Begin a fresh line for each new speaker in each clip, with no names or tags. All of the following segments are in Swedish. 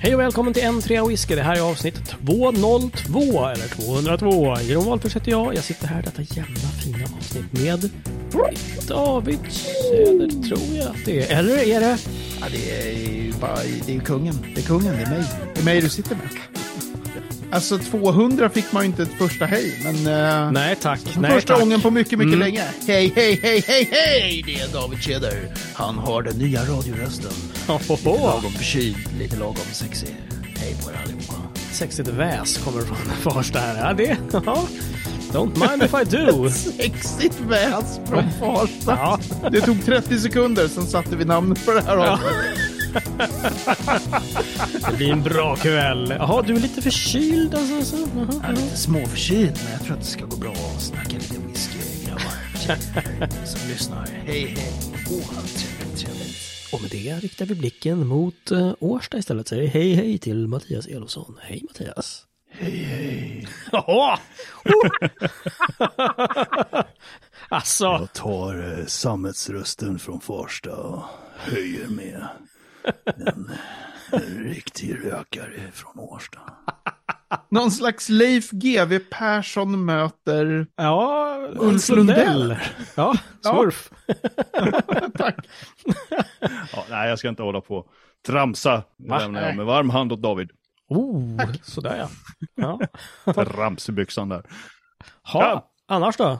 Hej och välkommen till N3 Whisky. Det här är avsnitt 202, eller 202. Jeroen Wahlfors heter jag. Jag sitter här i detta jävla fina avsnitt med David Söder, tror jag att det är. Eller är det?
Ja, det är ju bara, det är ju kungen. Det är kungen, det är mig. Det är mig du sitter med. Alltså 200 fick man ju inte ett första hej, men... eh,
Nej tack. Nej,
första
tack. Mm.
gången på mycket, mycket länge. Hej, hej, hej, hej, hej! Det är David Tjeder. Han har den nya radiorösten.
Ohoho.
Lagom förkyld, lite lagom sexig. Hej på er allihopa.
Sexigt väs kommer från Farsta här. Ja, det... Ja. Don't mind if I do.
Sexigt väs från Farsta.
Ja.
Det tog 30 sekunder, sen satte vi namnet på det här avsnittet.
Det blir en bra kväll. Jaha, du är lite förkyld alltså? Så. Jaha,
Jag är lite småförkyld, men jag tror att det ska gå bra att snacka lite whisky, grabbar. tjejer som lyssnar. Hej, hej. Åh, vad trevligt, trevligt.
Och med det riktar vi blicken mot eh, Årsta istället. Säger hej hej till Mattias Elofsson. Hej Mattias! Hej hej! Jaha! Oh! alltså,
Jag tar eh, sammetsrösten från Farsta och höjer med en, en riktig rökare från Årsta.
Någon slags Leif GW Persson möter...
ja,
Ulf Lundell.
Ja, smurf.
Ja, nej, jag ska inte hålla på och tramsa. Nu lämnar jag med varm hand åt David.
Oh, sådär ja. ja.
Ramsbyxan där.
Ha,
Ja.
annars då?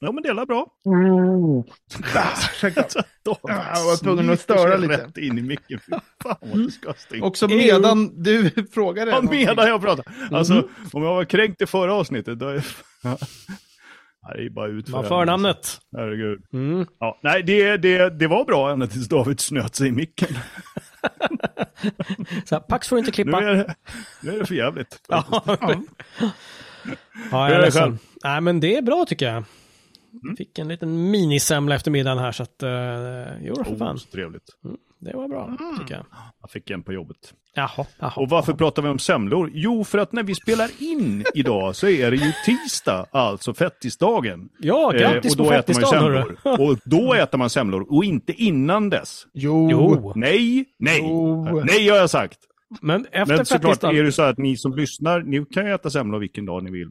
Ja, men det är väl bra. David
Jag var tvungen att störa
snyter sig
lite.
Rätt in i micken. Fy Fan vad disgusting.
Också medan du frågade.
Vad
någonting.
menar jag
Mm.
pratar? Alltså, om jag var kränkt i förra avsnittet, då är Nej, det är bara ut för
Man
henne,
förnamnet.
alltså. Herregud.
Mm.
Ja, nej, det, det, det var bra ända tills David snöt sig i micken.
Så här, Pax får inte
Nu
klippa.
är det, nu är det för jävligt.
Ja,
Hur
jag
är
är Mm.
det
ledsen.
själv?
Nej, men det är bra tycker jag. Fick en liten minisemla eftermiddagen här så att, uh, jo för
Oh,
fan,
så trevligt.
Mm.
det var bra tycker jag.
Jag fick en på jobbet.
Jaha, jaha.
Och varför pratar vi om semlor? Jo, för att när vi spelar in idag så är det ju tisdag, alltså fettisdagen. Eh,
Ja, grattis
och då
på
äter man ju
fettisdagen hörru.
semlor. Och då äter man semlor, och inte innan dess.
Jo.
Jo,
Nej, nej,
Jo.
nej har jag sagt.
men efter
Men såklart är
fettisdagen.
det så att ni som lyssnar, ni kan ju äta semlor vilken dag ni vill.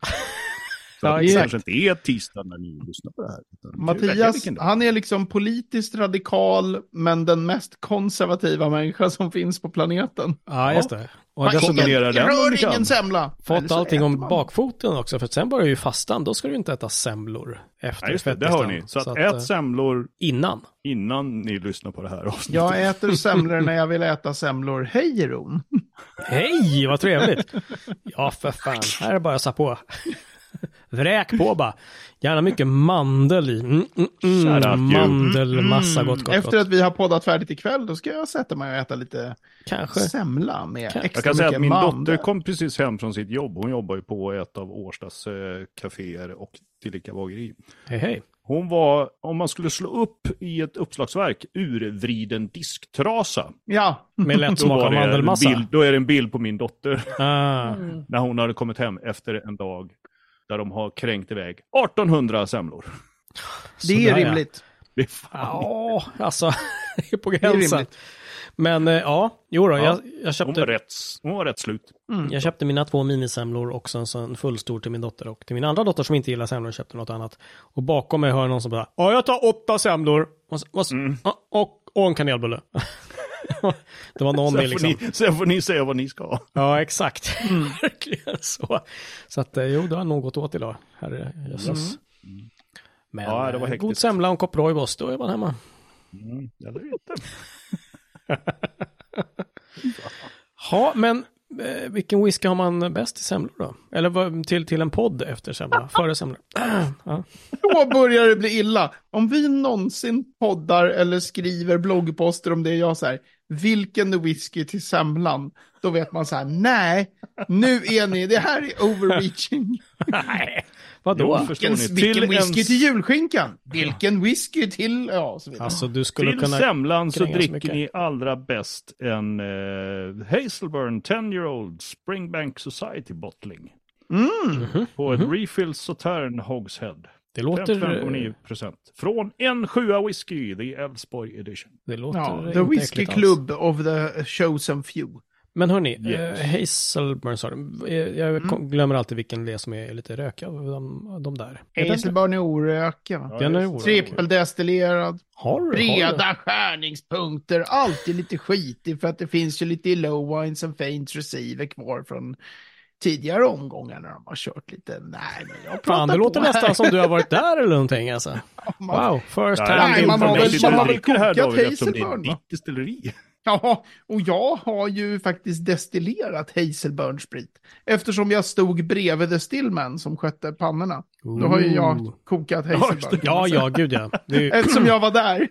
Så
Ja,
att det
exakt.
kanske inte är tisdag när ni lyssnar på det här. utan det kan ju välja
Mattias,
vilken dag.
han är liksom politiskt radikal, men den mest konservativa människa som finns på planeten.
Ja, just det. Och
Fucking
dessutom
kombinerar den om ni
Rör
kan.
ingen semla! Eller
fått
så
allting
äter
om
man.
bakfoten också, för sen börjar ju fastan. Då ska du inte äta semlor efter
Ja, just det, det
fettisdagen.
hör ni. Så, att,
eh,
ät semlor
Innan.
innan ni lyssnar på det här avsnittet.
Jag äter semlor när jag vill äta semlor. Hej, Jeroen!
Hej, vad trevligt! Ja, för fan. Här är det bara att sa på. Vräk på bara. Gärna mycket mandel i. Mm, mm,
Kära
mm.
djur. Mm,
Mandelmassa, gott, gott,
Efter
gott.
att vi har poddat färdigt ikväll, då ska jag sätta mig och äta lite
Kanske.
semla med extra
Jag kan säga att
mycket
min
mandel.
dotter kom precis hem från sitt jobb. Hon jobbar ju på ett av Årstas eh, kaféer och tillika bageri.
Hej, hej.
Hon var, om man skulle slå upp i ett uppslagsverk, urvriden disktrasa.
Ja,
Med lätt smak
var
av
det en
mandelmassa.
bild, då är det en bild på min dotter
Ah,
när hon hade kommit hem efter en dag där de har kränkt iväg 1800 semlor.
det är
sådär, ja.
rimligt.
Det är fan.
Ja, alltså. Det är på
är
gränsen.
rimligt.
Men eh, ja, jo då,
Ja.
jag, jag,
Hon var
köpte, mm,
rätt, hon var rätt slut.
jag köpte mina två minisemlor och sen så en fullstor till min dotter. Och till min andra dotter som inte gillar semlor köpte något annat. Och bakom mig hör jag någon som bara, ja jag tar åtta semlor. Och, så- och, så-
Mm.
och, och, och en kanelbulle. det var någon med
Sen
liksom.
får, ni, Mm. sen får ni säga vad ni ska ha.
Ja, exakt. Verkligen så. Så att eh, jo, det har nog gått åt idag. Herre jösses. Men
Mm. Ja, det var
eh,
hektiskt.
god semla och en kopp Roibos, då är man hemma.
Eller inte.
Ja, men eh, vilken whisky har man bäst till semlor då? Eller vad- till, till en podd efter semla, före semla. Ja.
Då börjar det bli illa. Om vi någonsin poddar eller skriver bloggposter om det jag säger, vilken whisky till semlan? Då vet man så här, nej, nu är ni, det här är overreaching.
Nej, vadå?
Jo, för- Förstår
Vilken,
ni? Till
vilken whisky
ens-
till julskinkan? Vilken whisky till, ja, och så vidare.
Alltså du skulle
Till
kunna...
semlan så
kränga så
dricker
mycket.
ni allra bäst en eh, Hazelburn 10 year old Springbank Society bottling. Mm. På ett refill Sautern Hogshead.
Det Mhm. låter, eh,
5,9 procent. Från en sjua whisky, the Älvsborg edition.
det låter
ja,
inte
the
äckligt
whisky club of the chosen few.
Men hörni,
Yes.
eh, Hazelburn sa du. Eh, Jag
Mm.
kom- glömmer alltid vilken det är som är lite rökig av de, de där. Är den-
Hazelburn är oröken. va?
Ja,
Den är
just.
orökt.
Trippeldestillerad,
Har du? Har du?
breda skärningspunkter, alltid lite skitig för att det finns ju lite low wines and faint receiver kvar från tidigare omgångar när de har kört lite. Nej, men jag pratar
Fan, det
på
låter
här.
nästan som du har varit där eller någonting alltså. Wow, first
Ja,
hand
Nej, man har väl- man
information.
har
information.
väl
Dricker det här,
kokat
David, eftersom det är
Hazelburn, va?
ditt destilleri.
Ja, och jag har ju faktiskt destillerat Hazelburn sprit. Eftersom jag stod bredvid The Stillman som skötte pannorna. Då har ju jag kokat Hazelburn. kan
Ja,
man säga.
ja, gud ja. Det är ju...
Eftersom jag var där.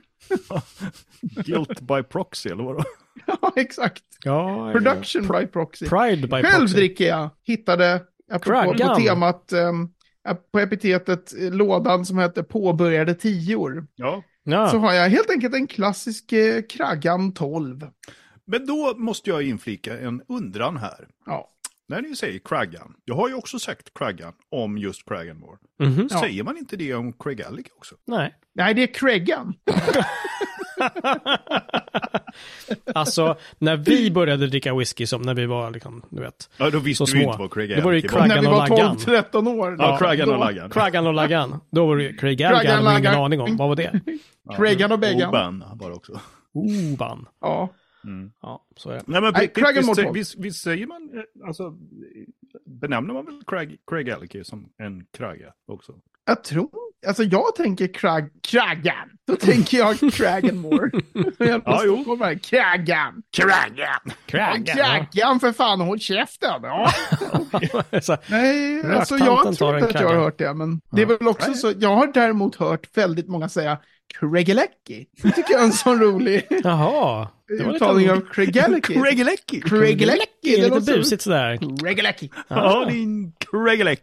Guilt by proxy, eller vadå?
Ja, exakt.
ja,
Production by proxy.
Pride by
Själv
proxy.
dricker jag, hittade, apropå på
Craggan.
temat, ehm, på epitetet eh, lådan som heter påbörjade tior,
Ja.
Ja.
så har jag helt enkelt en klassisk eh, Kraggan 12.
Men då måste jag inflika en undran här.
Ja.
När ni säger Craggan, jag har ju också sagt Craggan om just Cragganmore.
Mhm.
Ja.
Säger man inte det om Craigallic också?
Nej.
Nej, det är Craggan.
Alltså, när vi började dricka whisky, som när vi var liksom, du vet,
Ja, då
så
visste vi
små.
inte vad
Det
Craigallic
var ju Craggan.
När vi
och
var
Laggan.
12-13 år.
Ja, Craggan och
Då-
Laggan.
Craggan och Laggan, då var det ju Craig
Craig
Algan, hade ingen
Algan.
aning om. Vad var det? Oh,
Craggan och
Och
Beggan.
Ban var det också.
Oban.
Ja.
Ja, så är det.
Nej, men på
Nej,
riktigt,
Craggan
visst,
mot
sä-
Bob.
visst, visst säger man, eh, alltså, benämner man väl Craig, Craigallic som en Cragga också?
Jag tror, alltså jag tänker Crag, Craggan. Då tänker jag Cragganmore. jag
Ja, jo.
Stockholmare. Craggan.
Craggan!
Craggan!
Craggan för fan, håll käften. Ja.
ja. Så-
Nej,
Röktanten
alltså jag
tar
tror
en
inte att jag har
Craggan.
hört det, men det är väl också så. Jag har däremot hört väldigt många säga Craigalecki. Det tycker jag är en sån rolig
Jaha. Det var
uttalning av
lite,
Craigalecki.
Craigallic!
Craigalecki,
det
det
är
låter
lite busigt sådär.
Craigalecki.
Ja, din Craigallic!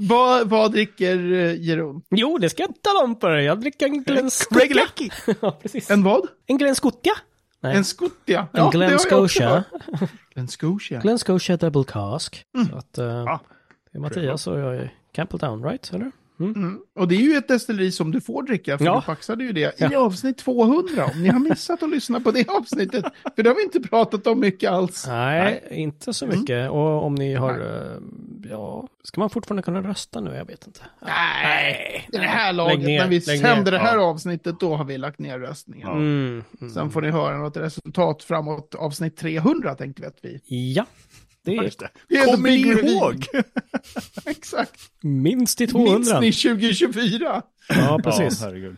Vad, vad dricker eh, Jeroen?
Jo, det ska jag tala om för dig. Jag dricker en Glenn Scotia.
Craigallic!
Ja, precis.
En vad?
En Glenn Scotia. Nej,
En Scotia?
en
Ja, det har
Glenn
jag också
Scotia.
hört. Mm. Glenn Scotia.
Glenn Scotia Double Cask. Så att, eh, det är
trevligt.
Mattias och jag är Campbelltown, right? Eller?
Mm. Och det är ju ett destilleri som du får dricka, för
Ja.
du faxade ju det i avsnitt 200, om ni har missat att lyssna på det avsnittet. För det har vi inte pratat om mycket alls.
Nej, inte så mycket. Och om ni har, eh, ja, ska man fortfarande kunna rösta nu? Jag vet inte.
Nej, i det här laget,
Lägg ner,
när vi
lägg
sänder
ner.
det här avsnittet, då har vi lagt ner röstningen.
Ja.
Mm. mm.
Sen får ni höra något resultat framåt avsnitt 300, tänkte vi att vi.
Ja, det
Ja,
är
just det.
Det är
Kommer ni
the big reveal.
ihåg?
Exakt.
minst i
Minns
200.
ni 2024?
Ja, precis.
Ja, herregud.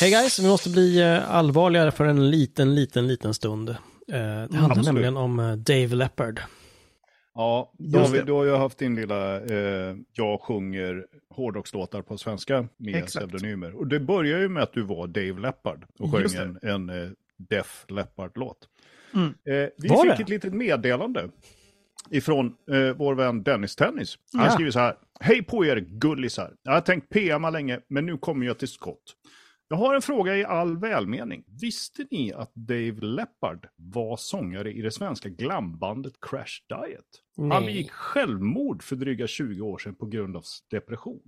Hej guys, vi måste bli eh, allvarligare för en liten, liten, liten stund. Eh, Det handlar
Absolut.
nämligen om eh, Dave Leppard.
Ja, då har, vi, då har jag haft din lilla, eh, jag sjunger hårdrockslåtar på svenska med
Exakt.
pseudonymer. Och det börjar ju med att du var Dave Leppard och sjöng
Just det.
en, en eh, Def Leppard-låt.
Mm.
Eh, vi
Var
fick
det?
ett litet meddelande ifrån eh, vår vän Dennis Tennis. Han
Ja.
skriver så här, hej på er gullisar. Jag har tänkt PMa länge, men nu kommer jag till skott. Jag har en fråga i all välmening. Visste ni att Dave Leppard var sångare i det svenska glambandet Crash Diet? Han
Nej.
begick självmord för dryga 20 år sedan på grund av depression.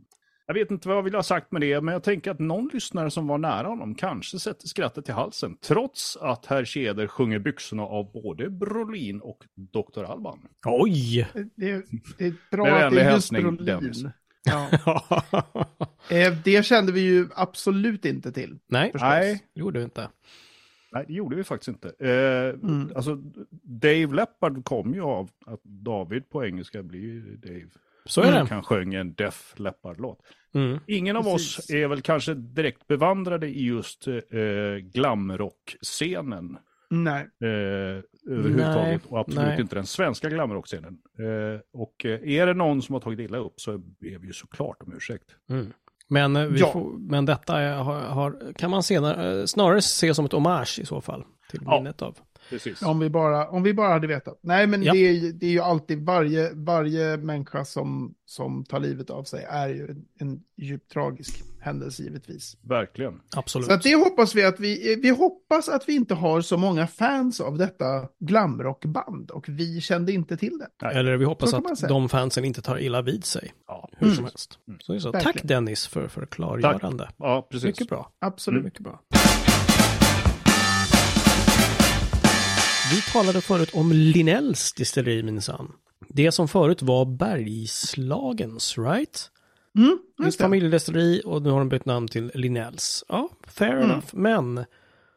Jag vet inte vad jag vill ha sagt med det, men jag tänker att någon lyssnare som var nära honom kanske sätter skrattet i halsen, trots att herr Keder sjunger byxorna av både Brolin och Dr. Alban.
Oj!
Det är, det är bra
Med
att det
vänlig
är just
hälsning, Dennis.
Brolin. Ja. Eh, Det kände vi ju absolut inte till.
Nej,
förstås.
Nej,
det gjorde du inte.
nej, det gjorde vi faktiskt inte. Eh,
Mm.
Alltså, Dave Leppard kom ju av att David på engelska blir ju Dave. Mm.
Så är
Han sjöng en Def Leppard-låt.
det. Mm.
Ingen av oss
Precis.
är väl kanske direkt bevandrade i just eh, glamrock-scenen
Nej.
eh, överhuvudtaget. och absolut
nej.
inte den svenska glamrock-scenen. Eh, och eh, är det någon som har tagit illa upp så ber vi ju såklart om ursäkt.
Mm. Men, eh, vi
Ja.
får, men detta är, har, har, kan man senare, eh, snarare se som ett hommage i så fall till
Ja.
minnet av.
Precis.
Om vi bara, om vi bara hade vetat. Nej, men
Ja.
det, är, ju- det är ju alltid varje, varje människa som, som tar livet av sig är ju en, en djupt tragisk händelse givetvis.
Verkligen.
Absolut.
Så att det hoppas vi att vi, eh, vi hoppas att vi inte har så många fans av detta glamrockband och vi kände inte till det.
Eller vi hoppas
Så kan man
att
säga.
de fansen inte tar illa vid sig,
Ja,
Mm.
hur som helst. Så är det så.
Verkligen.
Tack Dennis för, för klargörande.
ja precis.
Mycket bra.
Absolut.
Mycket bra. Vi talade förut om Linnells distilleri minsann. Det som förut var Bergslagens, right?
Mm,
Ett
just det.
familjedestilleri och nu har de bytt namn till Linnells. Ja, fair
Mm.
enough. Men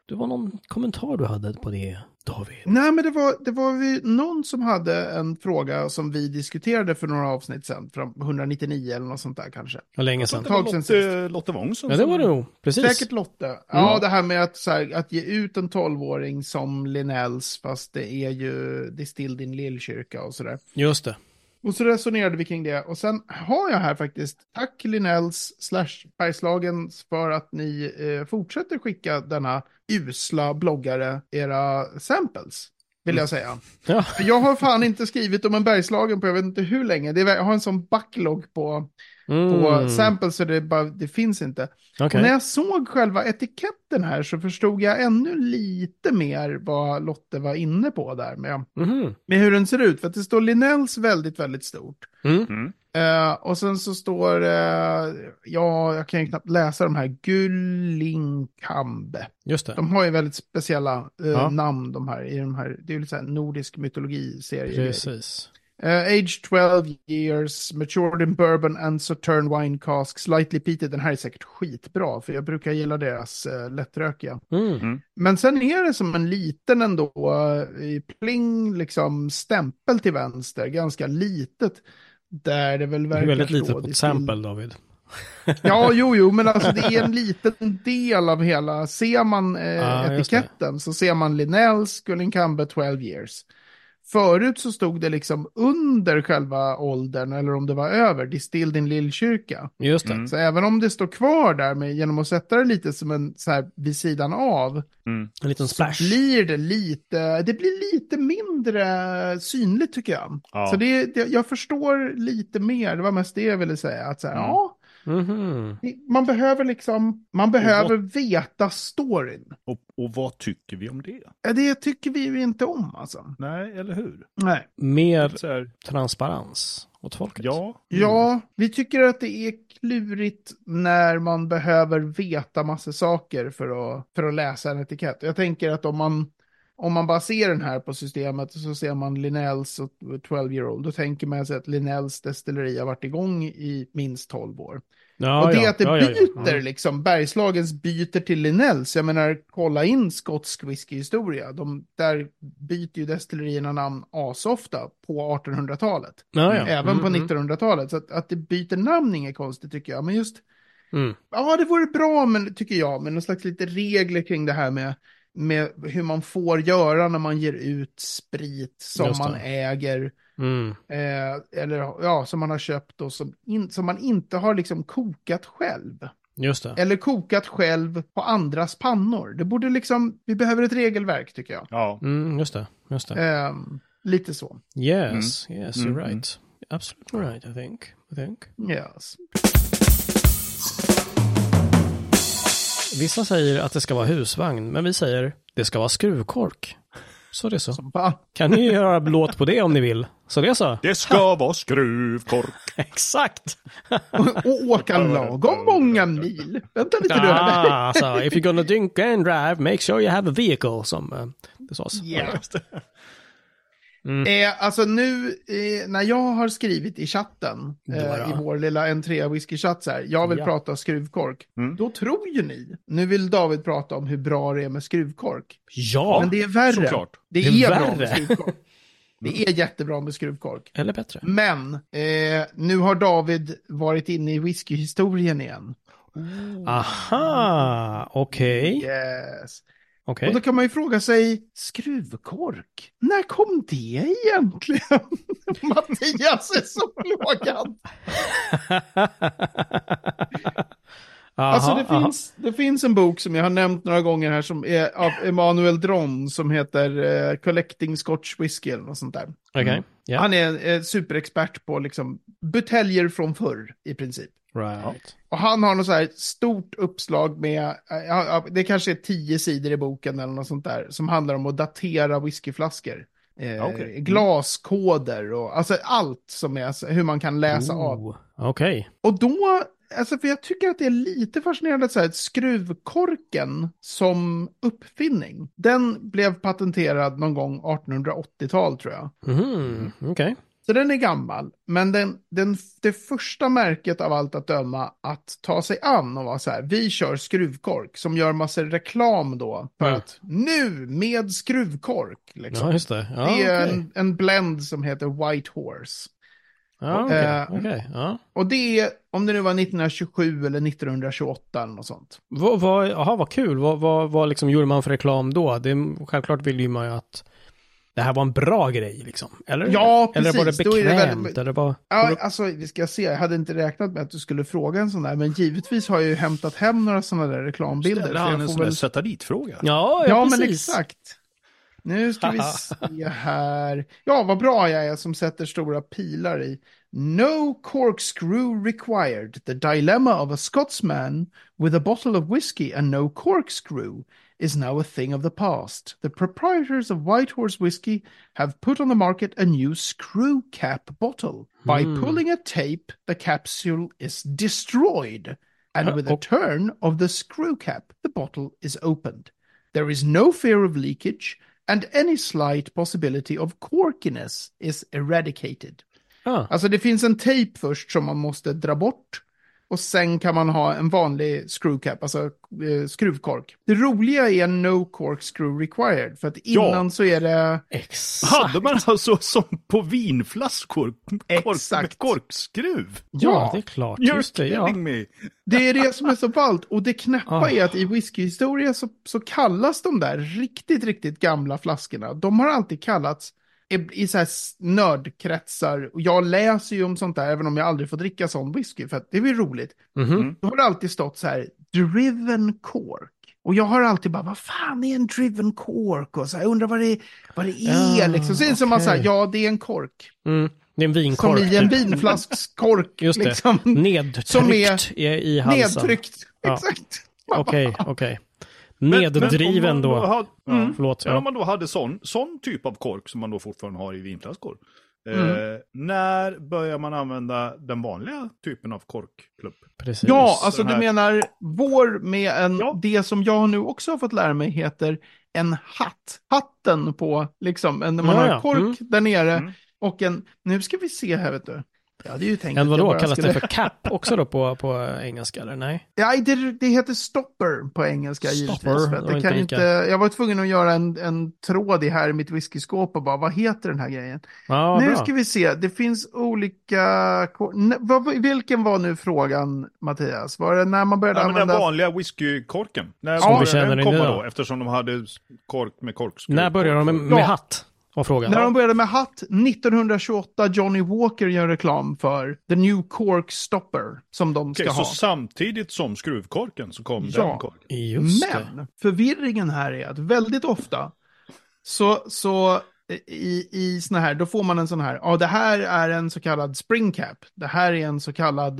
det var någon kommentar du hade på det, David.
Nej, men det var, det var ju någon som hade en fråga som vi diskuterade för några avsnitt sedan, fram 199 eller något sånt där kanske.
Ja, länge sedan.
Det var
Tag sedan
Lotte, Lotte Wångsson.
Ja, det var det
som-
nog. Precis.
Säkert Lotte. Ja, det här med att, så här, att ge ut en tolvåring som Linnells, fast det är ju Distilled in Lillkyrka och sådär.
Just det.
Och så resonerade vi kring det. Och sen har jag här faktiskt, tack Linnells slash Bergslagen för att ni eh, fortsätter skicka denna usla bloggare era samples. Vill jag säga.
Mm. Ja.
För Jag har fan inte skrivit om en Bergslagen på jag vet inte hur länge. Det är, jag har en sån backlog på, på
Mm.
samples så det, är bara, det finns inte.
Okej.
Och när jag såg själva etiketten här så förstod jag ännu lite mer vad Lotte var inne på där med,
Mhm.
med hur den ser ut. För att det står Linnells väldigt, väldigt stort.
Mm.
Eh, och sen så står det, ja, jag kan ju knappt läsa de här, Gullinkambe.
Just det.
De har ju väldigt speciella eh,
Ja.
namn de här, i de här, det är ju lite så här nordisk mytologi-serie.
Precis.
Eh, age 12 years, matured in bourbon and sautern wine cask, slightly peated. Den här är säkert skitbra, för jag brukar gilla deras eh, lättrökiga.
Mm.
Men sen är det som en liten ändå, eh, pling, liksom stämpel till vänster, ganska litet. Där det väl
Det är
verkar
väldigt
stå
lite på ett
distill-
sample, David.
Ja, jo, jo, men alltså det är en liten del av hela. Ser man eh,
Ah, just det.
etiketten så ser man Linnells, Gullinkambe 12 years. Förut så stod det liksom under själva åldern, eller om det var över, distilled in Lillkyrka.
Just det.
Så även om det står kvar där med, genom att sätta det lite som en så här vid sidan av,
Mm.
En liten splash.
blir det lite, det blir lite mindre synligt tycker jag.
Ja.
Så det, det, jag förstår lite mer, det var mest det jag ville säga, att så här,
Mm.
ja,
Mhm.
man behöver liksom, man behöver veta storyn.
Och, och vad tycker vi om det?
Ja, Det tycker vi ju inte om alltså.
Nej, eller hur?
Nej.
Mer
Så här,
transparens åt folket.
ja.
Mm.
Ja, vi tycker att det är klurigt när man behöver veta massa saker för att, för att läsa en etikett. Jag tänker att om man, om man bara ser den här på systemet och så ser man Linnells och 12 year old, då tänker man sig att Linnells destilleri har varit igång i minst 12 år.
Ja,
och det
ja.
att det
ja, Mm. ja, ja.
byter, liksom, Bergslagens byter till Linnells. Jag menar, kolla in skotsk whiskyhistoria. De, där byter ju destillerierna namn asofta på 1800-talet.
Ja, ja.
Även på
Mm, mm.
1900-talet. Så att, att det byter namn är inget konstigt tycker jag. Men just,
Mm.
ja det vore bra, men, tycker jag, med någon slags lite regler kring det här med, med hur man får göra när man ger ut sprit som
Just det.
man äger.
Mm.
Eh, eller ja, som man har köpt och som, in, som man inte har liksom kokat själv.
Just det.
Eller kokat själv på andras pannor. Det borde liksom, vi behöver ett regelverk tycker jag.
Ja.
Mm, just det. Just det.
Ehm, lite så.
Yes, yes,
Mm,
you're right. Absolutely right, I think. I think.
Yes.
Vissa säger att det ska vara husvagn, men vi säger det ska vara skruvkork. Så det är så.
Som fan.
Kan ni göra låt på det om ni vill? Så det är så.
Det ska vara skruvkork.
Exakt!
och åka lagom många mil. Vänta lite nu. här.
Ah, so if you're gonna drink and drive, make sure you have a vehicle, som eh, det sades.
Yeah. Eh, alltså nu eh, när jag har skrivit i chatten, eh,
Ja, ja.
i vår lilla N3 whisky-chatt så här, jag vill
Ja.
prata skruvkork. Då tror ju ni, nu vill David prata om hur bra det är med skruvkork.
Ja,
Men det är värre.
såklart.
Det,
Det är
är bra med
värre.
skruvkork. Det är jättebra med skruvkork.
eller bättre.
Men eh, nu har David varit inne i whiskyhistorien igen.
Mm. Aha, okej.
Yes.
okej.
Och då kan man ju fråga sig, skruvkork, när kom det egentligen? Mattias är så plågad.
Aha,
Alltså det
aha.
finns, det finns en bok som jag har nämnt några gånger här som är av Emanuel Dron som heter eh, Collecting Scotch Whisky eller något sånt där.
Okej, ja.
Han är eh, superexpert på liksom buteljer från förr i princip.
Right.
Och han har något så här stort uppslag med, eh, ja, det kanske är tio sidor i boken eller något sånt där, som handlar om att datera whiskyflaskor. Eh,
Okej. Mm.
Glaskoder och alltså allt som är, så- hur man kan läsa av.
Oh, Okej.
Och då Alltså för jag tycker att det är lite fascinerande att så här, skruvkorken som uppfinning, den blev patenterad någon gång 1880-tal tror jag.
Mhm, okej.
Så den är gammal, men den, den, det första märket av allt att döma att ta sig an och vara så här, vi kör skruvkork som gör massor reklam då för
Mm.
att nu med skruvkork. Liksom.
Ja, just det. Ja,
det är
okej.
en, en blend som heter White Horse.
Ja, okej.
eh,
okej, ja.
Och det är, om det nu var 1927 eller 1928 eller något sånt.
Vad, vad, aha, vad kul. Vad, vad, vad liksom gjorde man för reklam då? Det, självklart ville ju man ju att det här var en bra grej liksom. Eller?
Ja,
Eller var det
precis. Då är det väldigt-
bekvämt? Eller bara...
Ja, alltså, vi ska se. Jag hade inte räknat med att du skulle fråga en sån där, men givetvis har jag ju hämtat hem några sådana där reklambilder.
Ställer
så jag
han en
får
sån där
väl-
sätta dit-fråga?
ja, ja,
Ja, men
precis.
exakt. Nu ska vi se här. Ja, vad bra jag är som sätter stora pilar i. No corkscrew required. The dilemma of a Scotsman with a bottle of whiskey and no corkscrew is now a thing of the past. The proprietors of White Horse Whiskey have put on the market a new screw cap bottle. By
Hmm.
pulling a tape, the capsule is destroyed. And
Uh,
with a
oh.
turn of the screw cap, the bottle is opened. There is no fear of leakage, and any slight possibility of corkiness is eradicated.
Ja.
Alltså det finns en tejp först som man måste dra bort. Och sen kan man ha en vanlig screw cap, alltså eh, skruvkork. Det roliga är no cork screw required, för att innan så är det...
Exakt.
Hade man alltså som på vinflaskor? Kork,
Exakt.
med korkskruv?
Ja, det är klart. Just det,
You're
ja.
kidding me!
Det är det som är så ballt. Och det knäppa
Ah.
är att i whiskyhistoria så, så kallas de där riktigt, riktigt gamla flaskorna. De har alltid kallats i, i så här s- nördkretsar. Och jag läser ju om sånt där, även om jag aldrig får dricka sån whisky, för att det är ju roligt.
Mhm.
Då har det alltid stått så här, driven cork. Och jag har alltid bara, vad fan är en driven cork? Och så här, jag undrar vad det, vad det är.
Ah,
liksom. Så är det som man
okej.
säger, ja det är en kork.
Mm. Det är en vinkork.
Som i en
typ.
vinflaskskork.
Just det.
Liksom.
Nedtryckt
Som är-
i, i halsen.
Nedtryckt,
Ja.
exakt.
Okej, okej.
Men- men om
Neddriven
man
då.
hade-
Ja, förlåt.
Men om
Ja.
man då hade sån, sån typ av kork som man då fortfarande har i vinflaskor. Eh,
Mm.
när börjar man använda den vanliga typen av korkklubb?
Precis.
Ja, alltså
den
du
här-
menar vår med en,
Ja.
det som jag nu också har fått lära mig heter en hatt. Hatten på, liksom, en, när man
Ja,
har
ja.
kork
Mm.
där nere
Mm.
och en, nu ska vi se här vet du. Jag hade ju tänkt
En
att jag
vadå,
bara
kallas
skulle...
det för cap också då på, på engelska eller? Nej?
Nej, det, det heter stopper på engelska
Stopper,
givetvis. För att
det var
det kan
inte
inte, jag var tvungen att göra en, en tråd i här i mitt whiskyskåp och bara, vad heter den här grejen?
Ja,
nu
bra.
ska vi se, det finns olika... ko- ne- vad- Vilken var nu frågan, Mattias? Var det när man började
Nej, men den
använda...
vanliga whiskykorken. När
Som
vi
började
känner
den
den
komma
idag.
då? Eftersom de hade kork med korkskruv.
När börjar de med, med
Ja.
hatt? Var frågan.
När de började med hatt, 1928, Johnny Walker gör reklam för The New Cork Stopper som de ska
Okej, så
ha.
samtidigt som skruvkorken så kom
Ja.
den korken.
Just det.
Men förvirringen här är att väldigt ofta så, så i, i såna här, då får man en sån här, ja det här är en så kallad spring cap, det här är en så kallad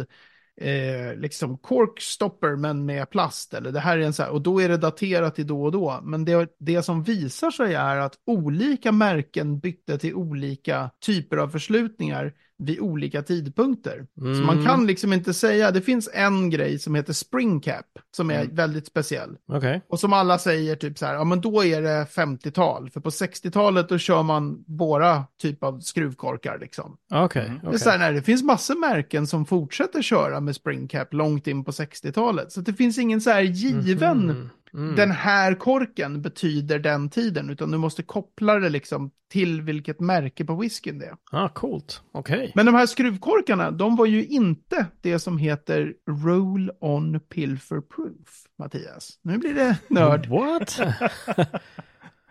eh, liksom cork stopper men med plast eller det här är en så här, och då är det daterat till då och då, men det, det som visar sig är att olika märken bytte till olika typer av förslutningar vid olika tidpunkter. Så man
Mm.
kan liksom inte säga, det finns en grej som heter spring cap som är
Mm.
väldigt speciell.
Okej.
Och som alla säger, typ så här, ja men då är det 50-tal. För på 60-talet då kör man våra typ av skruvkorkar liksom.
Okej.
Mm.
okej.
Det, är så här, nej, det finns massor märken som fortsätter köra med springcap långt in på 60-talet. Så att det finns ingen så här given,
Mhm. Mm.
den här korken betyder den tiden. Utan du måste koppla det liksom till vilket märke på whiskyn det är.
Ah, coolt. Okej.
Men de här skruvkorkarna, de var ju inte det som heter roll-on pilfer proof, Mattias. Nu blir det nörd.
What?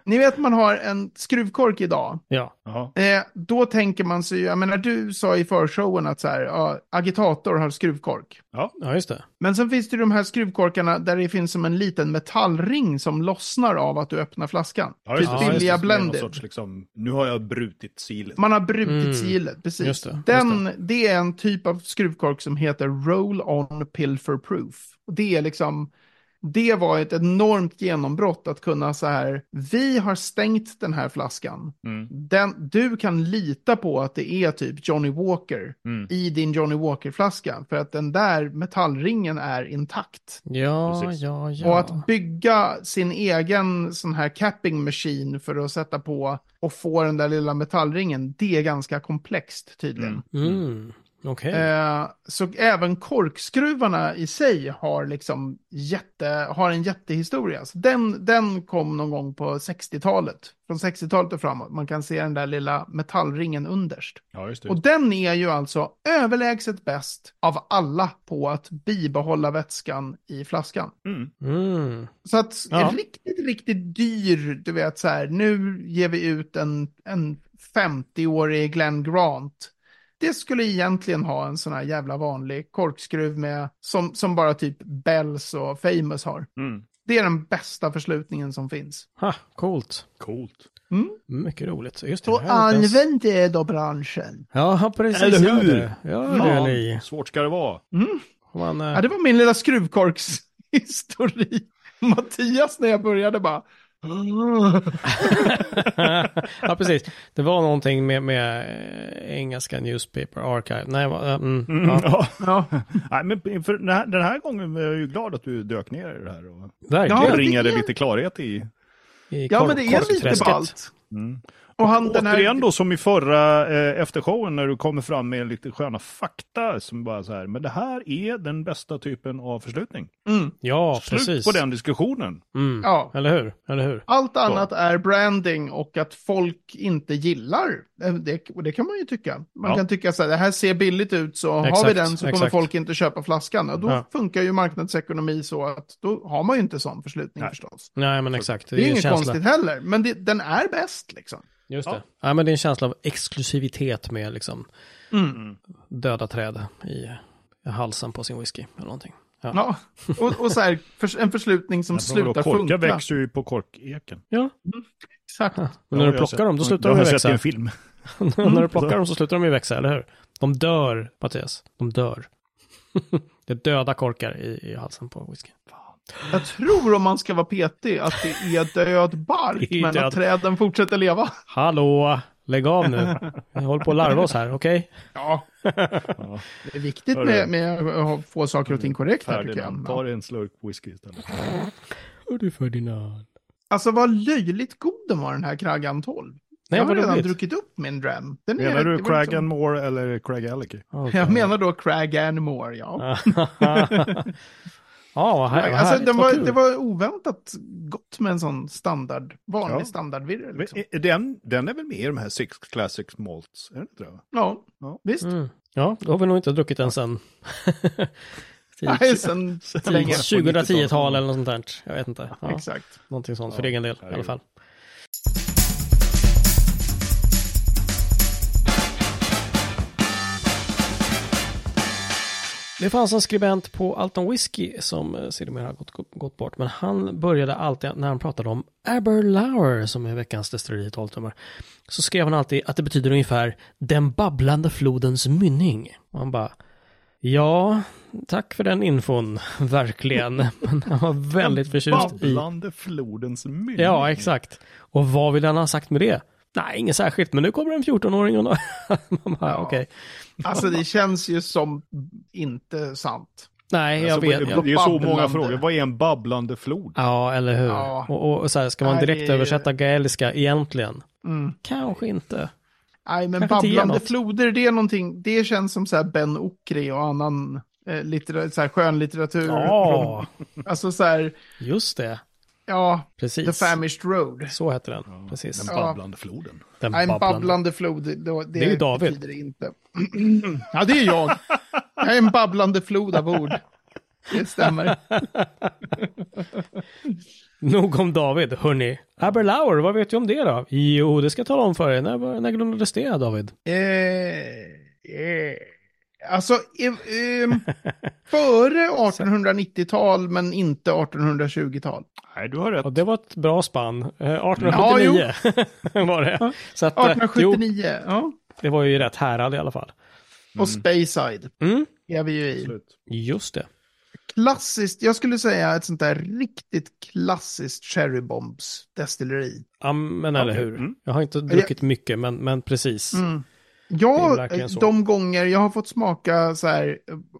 Ni vet man har en skruvkork idag.
ja.
Jaha.
Eh, då tänker man sig ju, jag menar du sa i förshowen att så här, ja, agitator har skruvkork.
ja, just det.
Men sen finns det ju de här skruvkorkarna där det finns som en liten metallring som lossnar av att du öppnar flaskan.
Ja,
typ
just det.
Ja,
billiga
Som är någon
blended.
sorts liksom, nu har jag brutit silet.
Man har brutit
Mm.
sigillet, precis.
Just det, just
Den, det. är en typ av skruvkork som heter roll-on pilfer proof. Och Det är liksom det var ett enormt genombrott att kunna så här, vi har stängt den här flaskan.
Mm.
Den, du kan lita på att det är typ Johnny Walker
Mm.
i din Johnny Walker-flaska, för att den där metallringen är intakt.
Ja,
Precis.
ja, ja.
Och att bygga sin egen sån här capping machine för att sätta på och få den där lilla metallringen, det är ganska komplext tydligen.
Mm.
Mm. Okej.
Eh, så även korkskruvarna i sig har, liksom jätte, har en jättehistoria. Så den, den kom någon gång på 60-talet. Från 60-talet och framåt. Man kan se den där lilla metallringen underst.
Ja, just det.
Typ.
Och den är ju alltså överlägset bäst av alla på att bibehålla vätskan i flaskan.
Mm.
Mm.
Så att
Ja.
riktigt, riktigt dyr, du vet så här, nu ger vi ut en, en 50-årig Glenn Grant. Det skulle egentligen ha en sån här jävla vanlig korkskruv med, som, som bara typ Bells och Famous har.
Mm.
Det är den bästa förslutningen som finns.
Ha, coolt.
Coolt.
Mycket roligt. Just det.
Så
det här är inte ens-
använd det då branschen.
Ja, precis.
Eller
Gör
hur?
det. Gör
Ja,
det ni.
Svårt ska det vara.
Man, eh,
Ja, det var min lilla skruvkorkshistoria. Mattias när jag började bara...
ja, precis. Det var någonting med, med eh, engelska newspaper archive. Nej, va- eh, mm, ja,
Ja.
Ja,
Nej, men för den, här, den här gången är jag ju glad att du dök ner i det här och
verkligen.
Ja, men det
bringade
är-
lite klarhet i. Mm.
I
ja
kor-
men det är lite
korkträsket.
ballt. Och han, den här,
Återigen då som i förra eh, eftershowen när du kommer fram med lite sköna fakta som bara så här, men det här är den bästa typen av förslutning.
mm,
Ja,
Slut
precis.
på den diskussionen.
Mm.
ja.
Eller hur? Eller hur?
Allt annat är branding och att folk inte gillar. Eh, Det, och det kan man ju tycka. Man
Ja.
kan tycka så här, det här ser billigt ut så har vi
Exakt,
den så kommer
exakt.
folk inte köpa flaskan. Och då
Ja.
funkar ju marknadsekonomi så att då har man ju inte sån förslutning
Nej.
förstås.
Nej, men exakt.
Det är,
en
inget
känsla.
konstigt heller, men det, den är bäst liksom.
Just
Ja.
det. Ja, men det är en känsla av exklusivitet med liksom
Mm.
döda träd i halsen på sin whisky eller någonting. Ja.
Ja, och, och så här, förs- en förslutning som slutar
Korka
funka.
växer ju på korkeken.
Exakt.
Men när
Ja,
du
jag
plockar
har
dem, då
sett-
slutar
jag
de ju
har sett
växa.
i en film.
när du
Mm.
plockar dem så slutar de ju växa, eller hur? De dör, Mattias. De dör. det är döda korkar i, i halsen på whisky.
Jag tror om man ska vara petig att det är död bark,
Det är
men
död.
att träden fortsätter leva.
Hallå! Lägg av nu. Jag håller på att larva oss här, okej?
Ja. Det är viktigt
Hörru.
med, med att få saker och ting korrekt här tycker
Ferdinand, ta
jag.
dig en slurk whisky istället.
Och du Ferdinand.
Alltså vad löjligt god den var den här Kraggan 12.
Nej,
jag har
vad
redan
roligt.
druckit upp min dram. Den är-
Menar du
det var
Craig
liksom-
and Moore eller Craig Alicky?
Åh,
Jag
gud.
menar då Crag and More, ja.
Ja, vad här, vad
Alltså,
härligt,
den
vad
var,
kul.
det var oväntat gott med en sån standard, vanlig
Ja.
standardvirre. Liksom.
eh, Den, den är väl med i de här Six Classic Malts? Är den inte det? va?
Ja,
Ja.
visst.
Mm. Ja, då har vi nog inte druckit den sen.
Nej, sen länge.
2010-tal eller något sånt där. Jag vet inte. Ja,
Exakt.
någonting sånt för
Ja,
egen del i alla
herregud.
fall. Det fanns en skribent på Alton Whiskey som eh, sedermera har gått, gått bort, men han började alltid när han pratade om Aberlour som är veckans destilleri i 12 tummar, så skrev han alltid att det betyder ungefär den babblande flodens mynning. Och han bara, ja, tack för den infon, verkligen. Men han var väldigt förtjust i
Babblande flodens mynning.
Mm.
Ja, exakt. Och vad vill han ha sagt med det? Nej, inget särskilt, men nu kommer en 14-åring och... Man bara, okej.
Alltså det känns ju som inte sant.
Nej, jag
Alltså,
vet.
Det
Jag...
det är så många
Babblande.
frågor. Vad är en babblande flod?
Ja, eller hur?
Ja.
Och, och, och så här, ska man
Nej,
direkt
det är-
översätta gaeliska egentligen?
Mm.
Kanske inte.
Nej, men
Kanske inte ger
babblande
något.
floder, det är någonting, det känns som så här Ben Okri och annan eh, litter, så här skönlitteratur.
Ja,
Alltså så här,
just det.
ja, The
Precis.
Famished Road.
Så heter den. Precis.
Den babblande floden.
Den
Nej, en
babblande.
babblande flod, det, det,
är ju David.
betyder det inte. ja, det är jag. Jag är en babblande flod av ord. Det stämmer.
Nog om David, hörni. Aberlour, vad vet du om det då? Jo, det ska jag tala om för er. När, var- när grundades det, David?
Eh, eh, alltså, eh, ehm, före 1890-tal men inte 1820-tal.
Nej, du har rätt.
Och det var ett bra spann. Eh, 1879 var det. Så att, eh, jo,
1879, ja.
Det var ju i rätt härad i alla fall.
Och Speyside
Mm,
är vi ju i.
Absolut.
just det.
klassiskt, jag skulle säga ett sånt där riktigt klassiskt Cherry Bombs destilleri.
Ja, men eller
Okej,
hur.
mm.
Jag har inte druckit mycket, men, men precis.
Mm.
Mm. Det är
Ja,
verkligen så.
de gånger jag har fått smaka så här,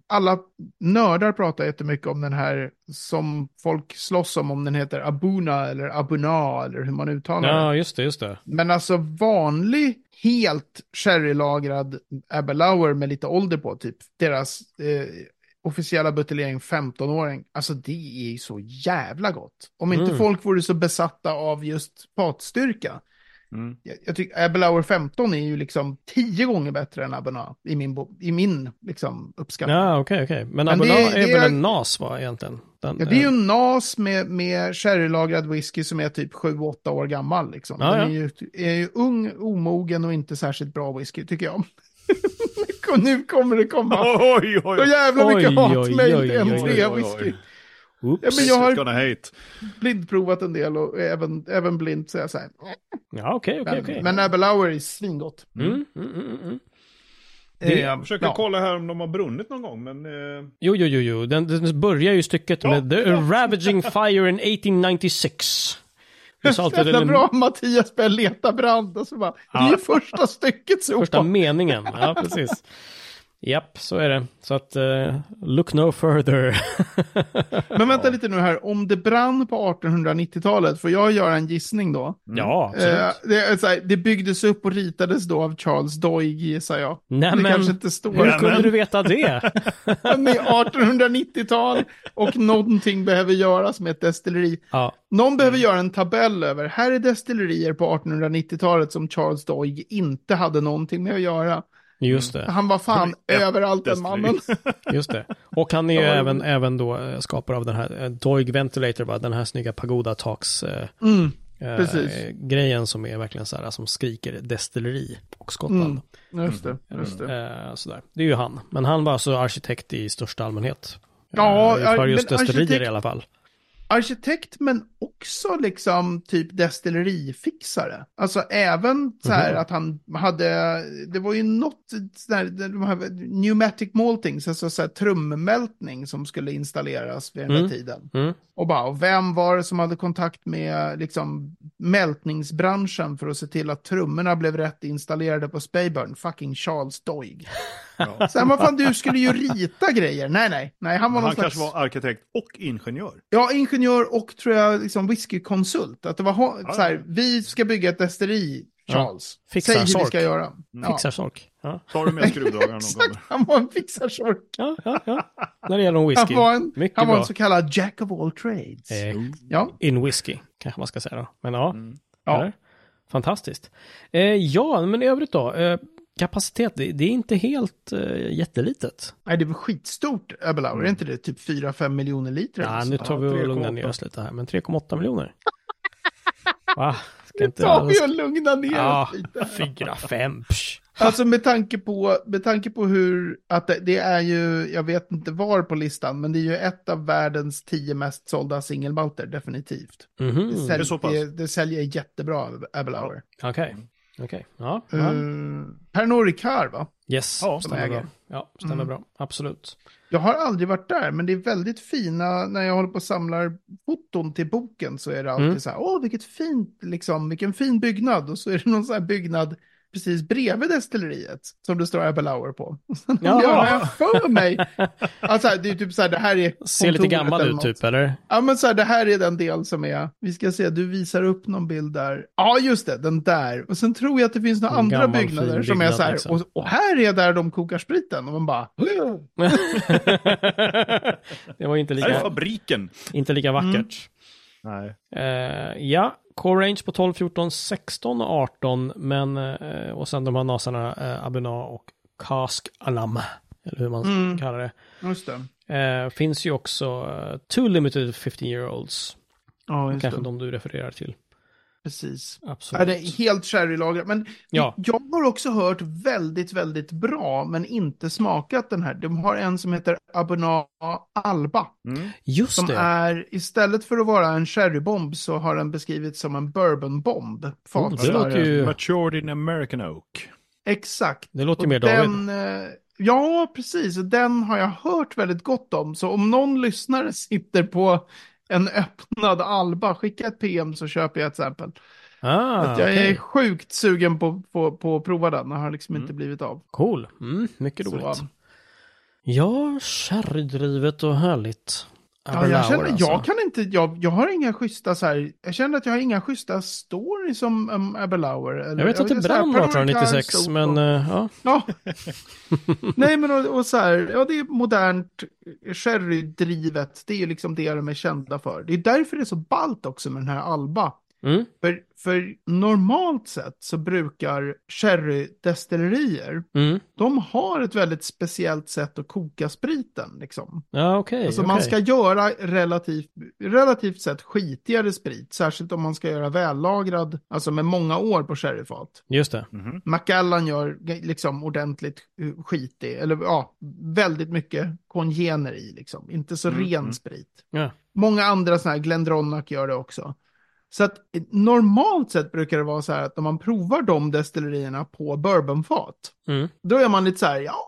alla nördar pratar jättemycket om den här som folk slåss om, om den heter Abuna eller Abuna eller hur man uttalar den.
Ja, just det, just det.
Men alltså vanlig, helt sherrylagrad Aberlour med lite ålder på, typ deras eh, officiella buteljering 15-åring, alltså det är ju så jävla gott. Om inte
Mm.
folk vore så besatta av just fatstyrka.
Mm.
Jag, jag tycker Aberlour 15 är ju liksom 10 gånger bättre än Abena i min, bo- i min liksom, uppskattning. Ja.
Ja, okej, okej. Men,
Men
Abelard
det-
är
det
väl
är-
en NAS, va, egentligen? Den,
det är ju
eh,
en NAS med, med sherrylagrad whisky som är typ 7-8 år gammal. Liksom.
Ja,
Den
ja.
Är, ju, är ju ung, omogen och inte särskilt bra whisky, tycker jag. Och nu kommer det komma
Oj, oj,
så jävla mycket
Oj, oj, oj,
hatmejl till
oj, oj,
M3 whisky.
oops.
Ja, men jag har
Gonna hate.
blindprovat en del och även, även blind säger jag så här.
Ja, okej, okej,
Men,
okej.
men Aberlour är svingott.
Mm, mm, mm, mm.
Det,
Jag försöker
ja.
kolla här om de har brunnit någon gång, men... eh,
Jo, jo, jo, jo. Den, den börjar ju stycket med The Ravaging Fire in 1896. Besaltade
Jävla
den
bra Mattias börjar leta brand och så bara, det är ju första stycket så.
första meningen. Ja, precis. Japp, så är det. Så att eh, look no further.
Men vänta lite nu här, om det brann på 1890-talet, får jag göra en gissning då?
Mm. Ja, absolut.
Eh, det, är så här, det byggdes upp och ritades då av Charles Doig gissar jag.
Nej,
det
men-
kanske inte står.
Hur kunde
men-
du veta det?
Men det är 1890-tal och någonting behöver göras med ett destilleri.
Ja,
Någon behöver göra en tabell över, här är destillerier på 1890-talet som Charles Doig inte hade någonting med att göra.
just det.
Han var fan överallt den
destilleri.
mannen.
Just det. Och han är ju
Ja, jo.
även, även då eh, skapare av den här eh, Doig Ventilator, va? den här snygga Pagoda Talks eh,
Mm,
eh,
Precis.
grejen som är verkligen så här, som skriker destilleri och Skottland.
just det, just det.
Eh, sådär. Det är ju han. Men han var alltså arkitekt i största allmänhet.
Ja,
eh, för
ar-
just
men
destillerier
arkitekt-
i alla fall.
arkitekt men också liksom typ destillerifixare. Alltså även så här
Mhm.
att han hade, det var ju något där, de här pneumatic maltings, alltså så här trummältning som skulle installeras vid den här
Mm.
tiden.
Mm.
Och bara, och vem var det som hade kontakt med liksom mältningsbranschen för att se till att trummorna blev rätt installerade på Speyburn? Fucking Charles Doig.
Ja.
Sen vad fan, du skulle ju rita grejer. Nej, nej, nej, han var någon
Han
slags...
kanske var arkitekt och ingenjör.
Ja, ingenjör och tror jag liksom whiskykonsult. Att det var ha-
Ja.
så här, vi ska bygga ett destilleri, Charles.
Fixar
Säg hur vi
sork. Mm.
ska göra. Ja.
Fixar sork. Ja.
Tar du med skruvdragaren någon
Exakt,
gång?
han var en fixarsork.
Ja, ja, ja. När det gäller om whisky.
Han var, en,
Mycket
han var
bra.
en så kallad jack of all trades.
Eh,
Ja,
in whisky, kanske man ska säga då. Men ja,
Ja.
Eller? fantastiskt. Eh, ja, men i övrigt då. Eh, kapacitet, det, det är inte helt eh, jättelitet.
nej, det var skitstort, Aberlour. Är inte det typ 4-5 miljoner liter? eller
Mm. Ja,
något
nu
sånt
tar
där?
vi och
3,8.
lugnar ner oss lite här, men 3,8 miljoner. Va? Ska
Nu
inte
tar vi och lugnar ner
Ja,
oss lite.
4, 5.
Alltså med tanke på, med tanke på hur, att det, det är ju, jag vet inte var på listan, men det är ju ett av världens tio mest sålda singelmalter, definitivt.
Mhm,
Det,
Okej,
sälj,
är
det,
så pass.
det, säljer jättebra, Aberlour.
okej. Ja,
Ja.
ja.
Eh, Pernod Ricard, va?
yes,
ja,
stämmer
äger.
bra. Ja,
Mm.
stämmer bra. Absolut.
Jag har aldrig varit där, men det är väldigt fina, när jag håller på och samlar foton till boken så är det alltid
Mm.
så här, åh vilket fint, liksom, vilken fin byggnad. Och så är det någon sån här byggnad precis bredvid destilleriet som det står Aberlour på. Ja. Jag har för mig. Alltså, det är typ så här, det här är...
Ser lite
kontoret
gammal
eller
ut
något.
typ, eller?
Ja, men så här, det här är den del som är, vi ska se, du visar upp någon bild där. Ja, just det, den där. Och sen tror jag att det finns några
En
andra
gammal,
byggnader
fin
som är
byggnad,
så här,
liksom.
och, och här är där de kokar spriten. Och man bara,
det var ju inte
Det här är
lika,
fabriken.
inte lika vackert.
Mm.
Nej.
Eh, ja, Core Range på 12, 14, 16 och 18. Men, eh, och sen de här nasarna eh, Abena och Kask Alam. Eller hur man
Mm.
kallar det.
just det.
Eh, finns ju också eh, Two Limited 15 year olds.
Ja, just
Kanske
det.
de du refererar till.
Precis. Ja,
Absolut.
det är helt sherrylagrat. Men
Ja.
jag har också hört väldigt, väldigt bra, men inte smakat den här. De har en som heter Abona Alba.
Just
Som
det.
är, istället för att vara en sherrybomb så har den beskrivits som en bourbonbomb. Fat
Oh, det
snarare.
låter ju-
Matured in American Oak.
Exakt.
Det låter ju
Och
mer David.
den, eh, Ja, precis. Och Den har jag hört väldigt gott om. Så om någon lyssnare sitter på en öppnad Alba, skicka ett PM så köper jag ett exempel.
Ah,
att jag är
okej.
sjukt sugen på, på, på att prova den. Det har liksom
Mm.
inte blivit av.
Cool. Mm, mycket
Så,
roligt. Ja, kärrdrivet och härligt. alltså.
ja, jag,
Aberlour,
känner, jag kan inte, jag, jag har inga schyssta så här, jag känner att jag har inga schyssta stories som um, Aberlour. Eller,
Jag vet att det
så här,
brann 1896,
Paramount
men
House,
eh, ja.
Ja. Nej, men och, och så här, ja det är modernt eh, sherrydrivet, det är ju liksom det de är kända för. Det är därför det är så ballt också med den här Alba.
Mm.
För, för normalt sett så brukar sherrydestillerier,
Mm.
de har ett väldigt speciellt sätt att koka spriten. Liksom.
Ja, okej.
Alltså
okej.
man ska göra relativt, relativt sett skitigare sprit, särskilt om man ska göra vällagrad, alltså med många år på sherryfat.
Just det.
Mhm.
Macallan gör g- liksom ordentligt eh, skitig, eller ja, väldigt mycket kongener i liksom. Inte så
Mm,
ren
mm.
sprit.
Ja.
Många andra sådana här, Glendronach gör det också. Så att eh, normalt sett brukar det vara så här att när man provar de destillerierna på bourbonfat,
Mm.
då är man lite så här, ja,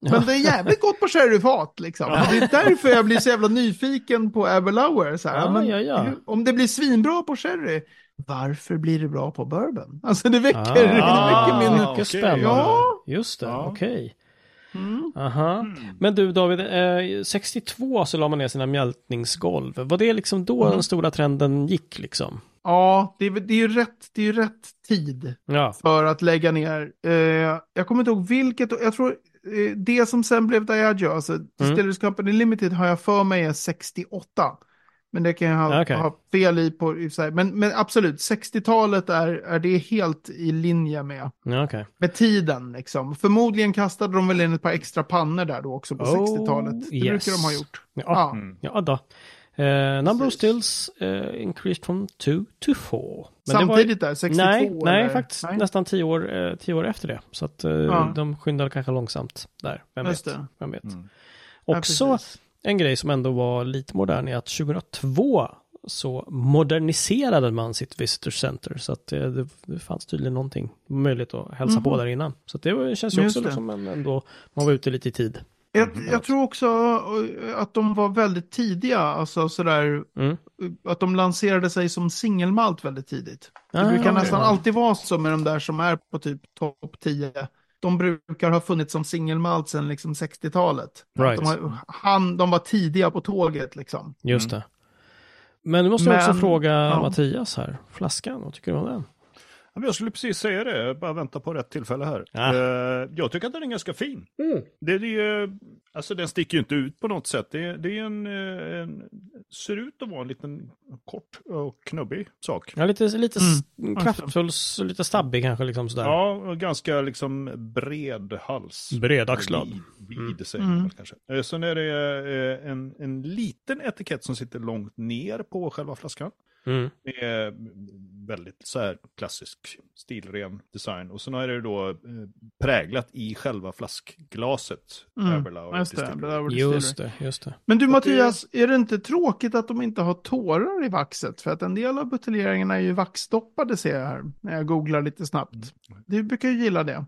men det är jävligt gott på sherryfat liksom.
Ja.
Det är därför jag blir så jävla nyfiken på Aberlour. Så här,
Ja,
men
ja, ja.
hur- Om det blir svinbra på sherry, varför blir det bra på bourbon? Alltså det väcker
Ah,
mycket min...
mycket
okej.
spännande.
Ja.
Just det,
Ja.
okej.
Mm.
Aha. Men du David, eh, 62 så la man ner sina mjältningsgolv. Var det liksom då
Mm.
den stora trenden gick liksom?
Ja, det är, det, är ju rätt, det är ju rätt tid
Ja.
för att lägga ner. Eh, jag kommer inte ihåg vilket, jag tror eh, det som sen blev Diageo, alltså
Mm.
Distillers Company Limited har jag för mig är 68. Men det kan jag ha,
Okej.
ha fel i på, i sig. Men, men absolut, 60-talet är, är det helt i linje med,
ja okej.
med tiden liksom. Förmodligen kastade de väl in ett par extra pannor där då också på
Oh,
60-talet. Det
yes.
brukar de ha gjort.
Ja, Mm.
Ja.
Mm.
ja då. Eh, number of
Precis.
stills eh, increased from 2 to 4.
Samtidigt där, 62
Nej, nej
eller?
faktiskt
Nej.
nästan 10 år, eh, tio år efter det. Så att eh,
Ja.
de skyndade kanske långsamt där. Vem
Just
vet?
det.
Vem vet.
Mm.
Ja,
Också
precis.
en grej som ändå var lite modern är att 2002 så moderniserade man sitt visitor center. Så att eh, det, det fanns tydligen någonting möjligt att hälsa på där innan. Så att det var- känns ju
Mhm. Just
också
det.
liksom en, ändå, man var ute lite i tid.
Jag,
Mm.
jag tror också eh, att de var väldigt tidiga, alltså sådär,
Mm.
eh, att de lanserade sig som singelmalt väldigt tidigt. Det
Ah,
brukar
okej.
nästan alltid vara så med de där som är på typ topp 10. De brukar ha funnits som singelmalt sedan liksom 60-talet.
Right.
De, har, han, de var tidiga på tåget liksom.
Just det. Men nu måste jag också
Men-
fråga
ja.
Mattias här, flaskan, vad tycker du om den?
Ja, men Jag skulle precis säga det, jag bara vänta på rätt tillfälle här.
Ah.
Eh, Jag tycker att den är ganska fin. Det, det är ju, alltså den sticker ju inte ut på något sätt. Det, det är en, eh, en, ser ut att vara en liten kort och knubbig sak.
Ja, lite, lite s-
Mm.
kraftfull, s- lite stabbig kanske liksom sådär.
Ja, och ganska liksom bred Mm. hals.
Bredaxlad.
Vid, vid säger man väl kanske. Eh, Sen är det eh, en, en liten etikett som sitter långt ner på själva flaskan.
Mm.
Det är eh, väldigt så här klassisk stilren design. Och sen är det då eh, präglat i själva flaskglaset. Aberlour
Mm. Just det,
Distillery.
Aberlour Distillery.
Just det, just det.
Men du
att det-
Mattias, är det inte tråkigt att de inte har tårar i vaxet? För att en del av buteljeringarna är ju vaxdoppade ser jag här, när jag googlar lite snabbt.
Mm.
Du brukar ju gilla det.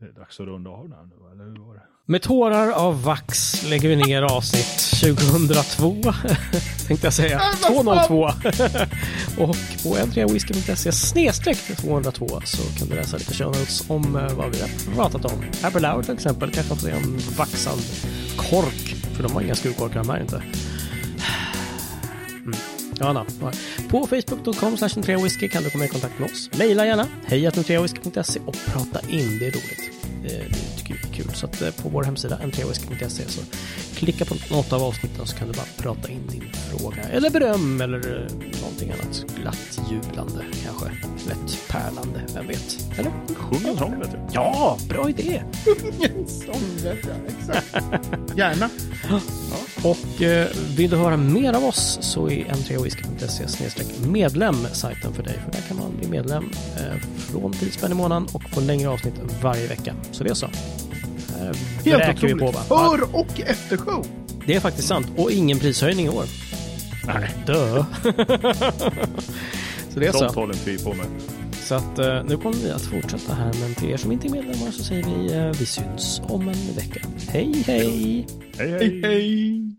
Det är dags att runda av den här nu, eller hur var det?
Med tårar av vax lägger vi ner avsnitt 2002, tänkte jag säga.
Äh, vad
202. och på entreawhisky.se snedstreck 202 så kan du läsa lite show notes om eh, vad vi har pratat om. Aberlour till exempel, kanske får se en vaxad kork, för de har inga skruvkorkar de här inte. Ja, Anna. Ja. På facebook.com whisky kan du komma i kontakt med oss. Maila gärna hejatnotreawhisky.se och prata in, det är roligt. Eh, Det tycker vi är kul. Så att eh, på vår hemsida entreawhisky.se så klicka på något av avsnitten så kan du bara prata in din fråga eller beröm eller eh, någonting annat glatt jublande kanske. Lätt pärlande, vem vet? Eller?
Sjung en sång, vet du.
Ja, bra idé!
Sån vet jag, exakt. Gärna.
Och eh, vill du höra mer av oss så är entreawhisky.se snedstreck medlem sajten för dig. För där kan man bli medlem eh, från 10 spänn i månaden och få längre avsnitt varje vecka. Så det är så. Här
Helt
vräker vi
otroligt.
på va? Ja,
För och eftershow.
det är faktiskt sant. Och ingen prishöjning i år. Nej. Dö. så det är
Sånt
så.
håller inte vi på med.
Så att eh, nu kommer vi att fortsätta här, men till er som inte är medlemmar så säger vi eh, vi syns om en vecka. Hej hej!
Hej,
Hej, hej!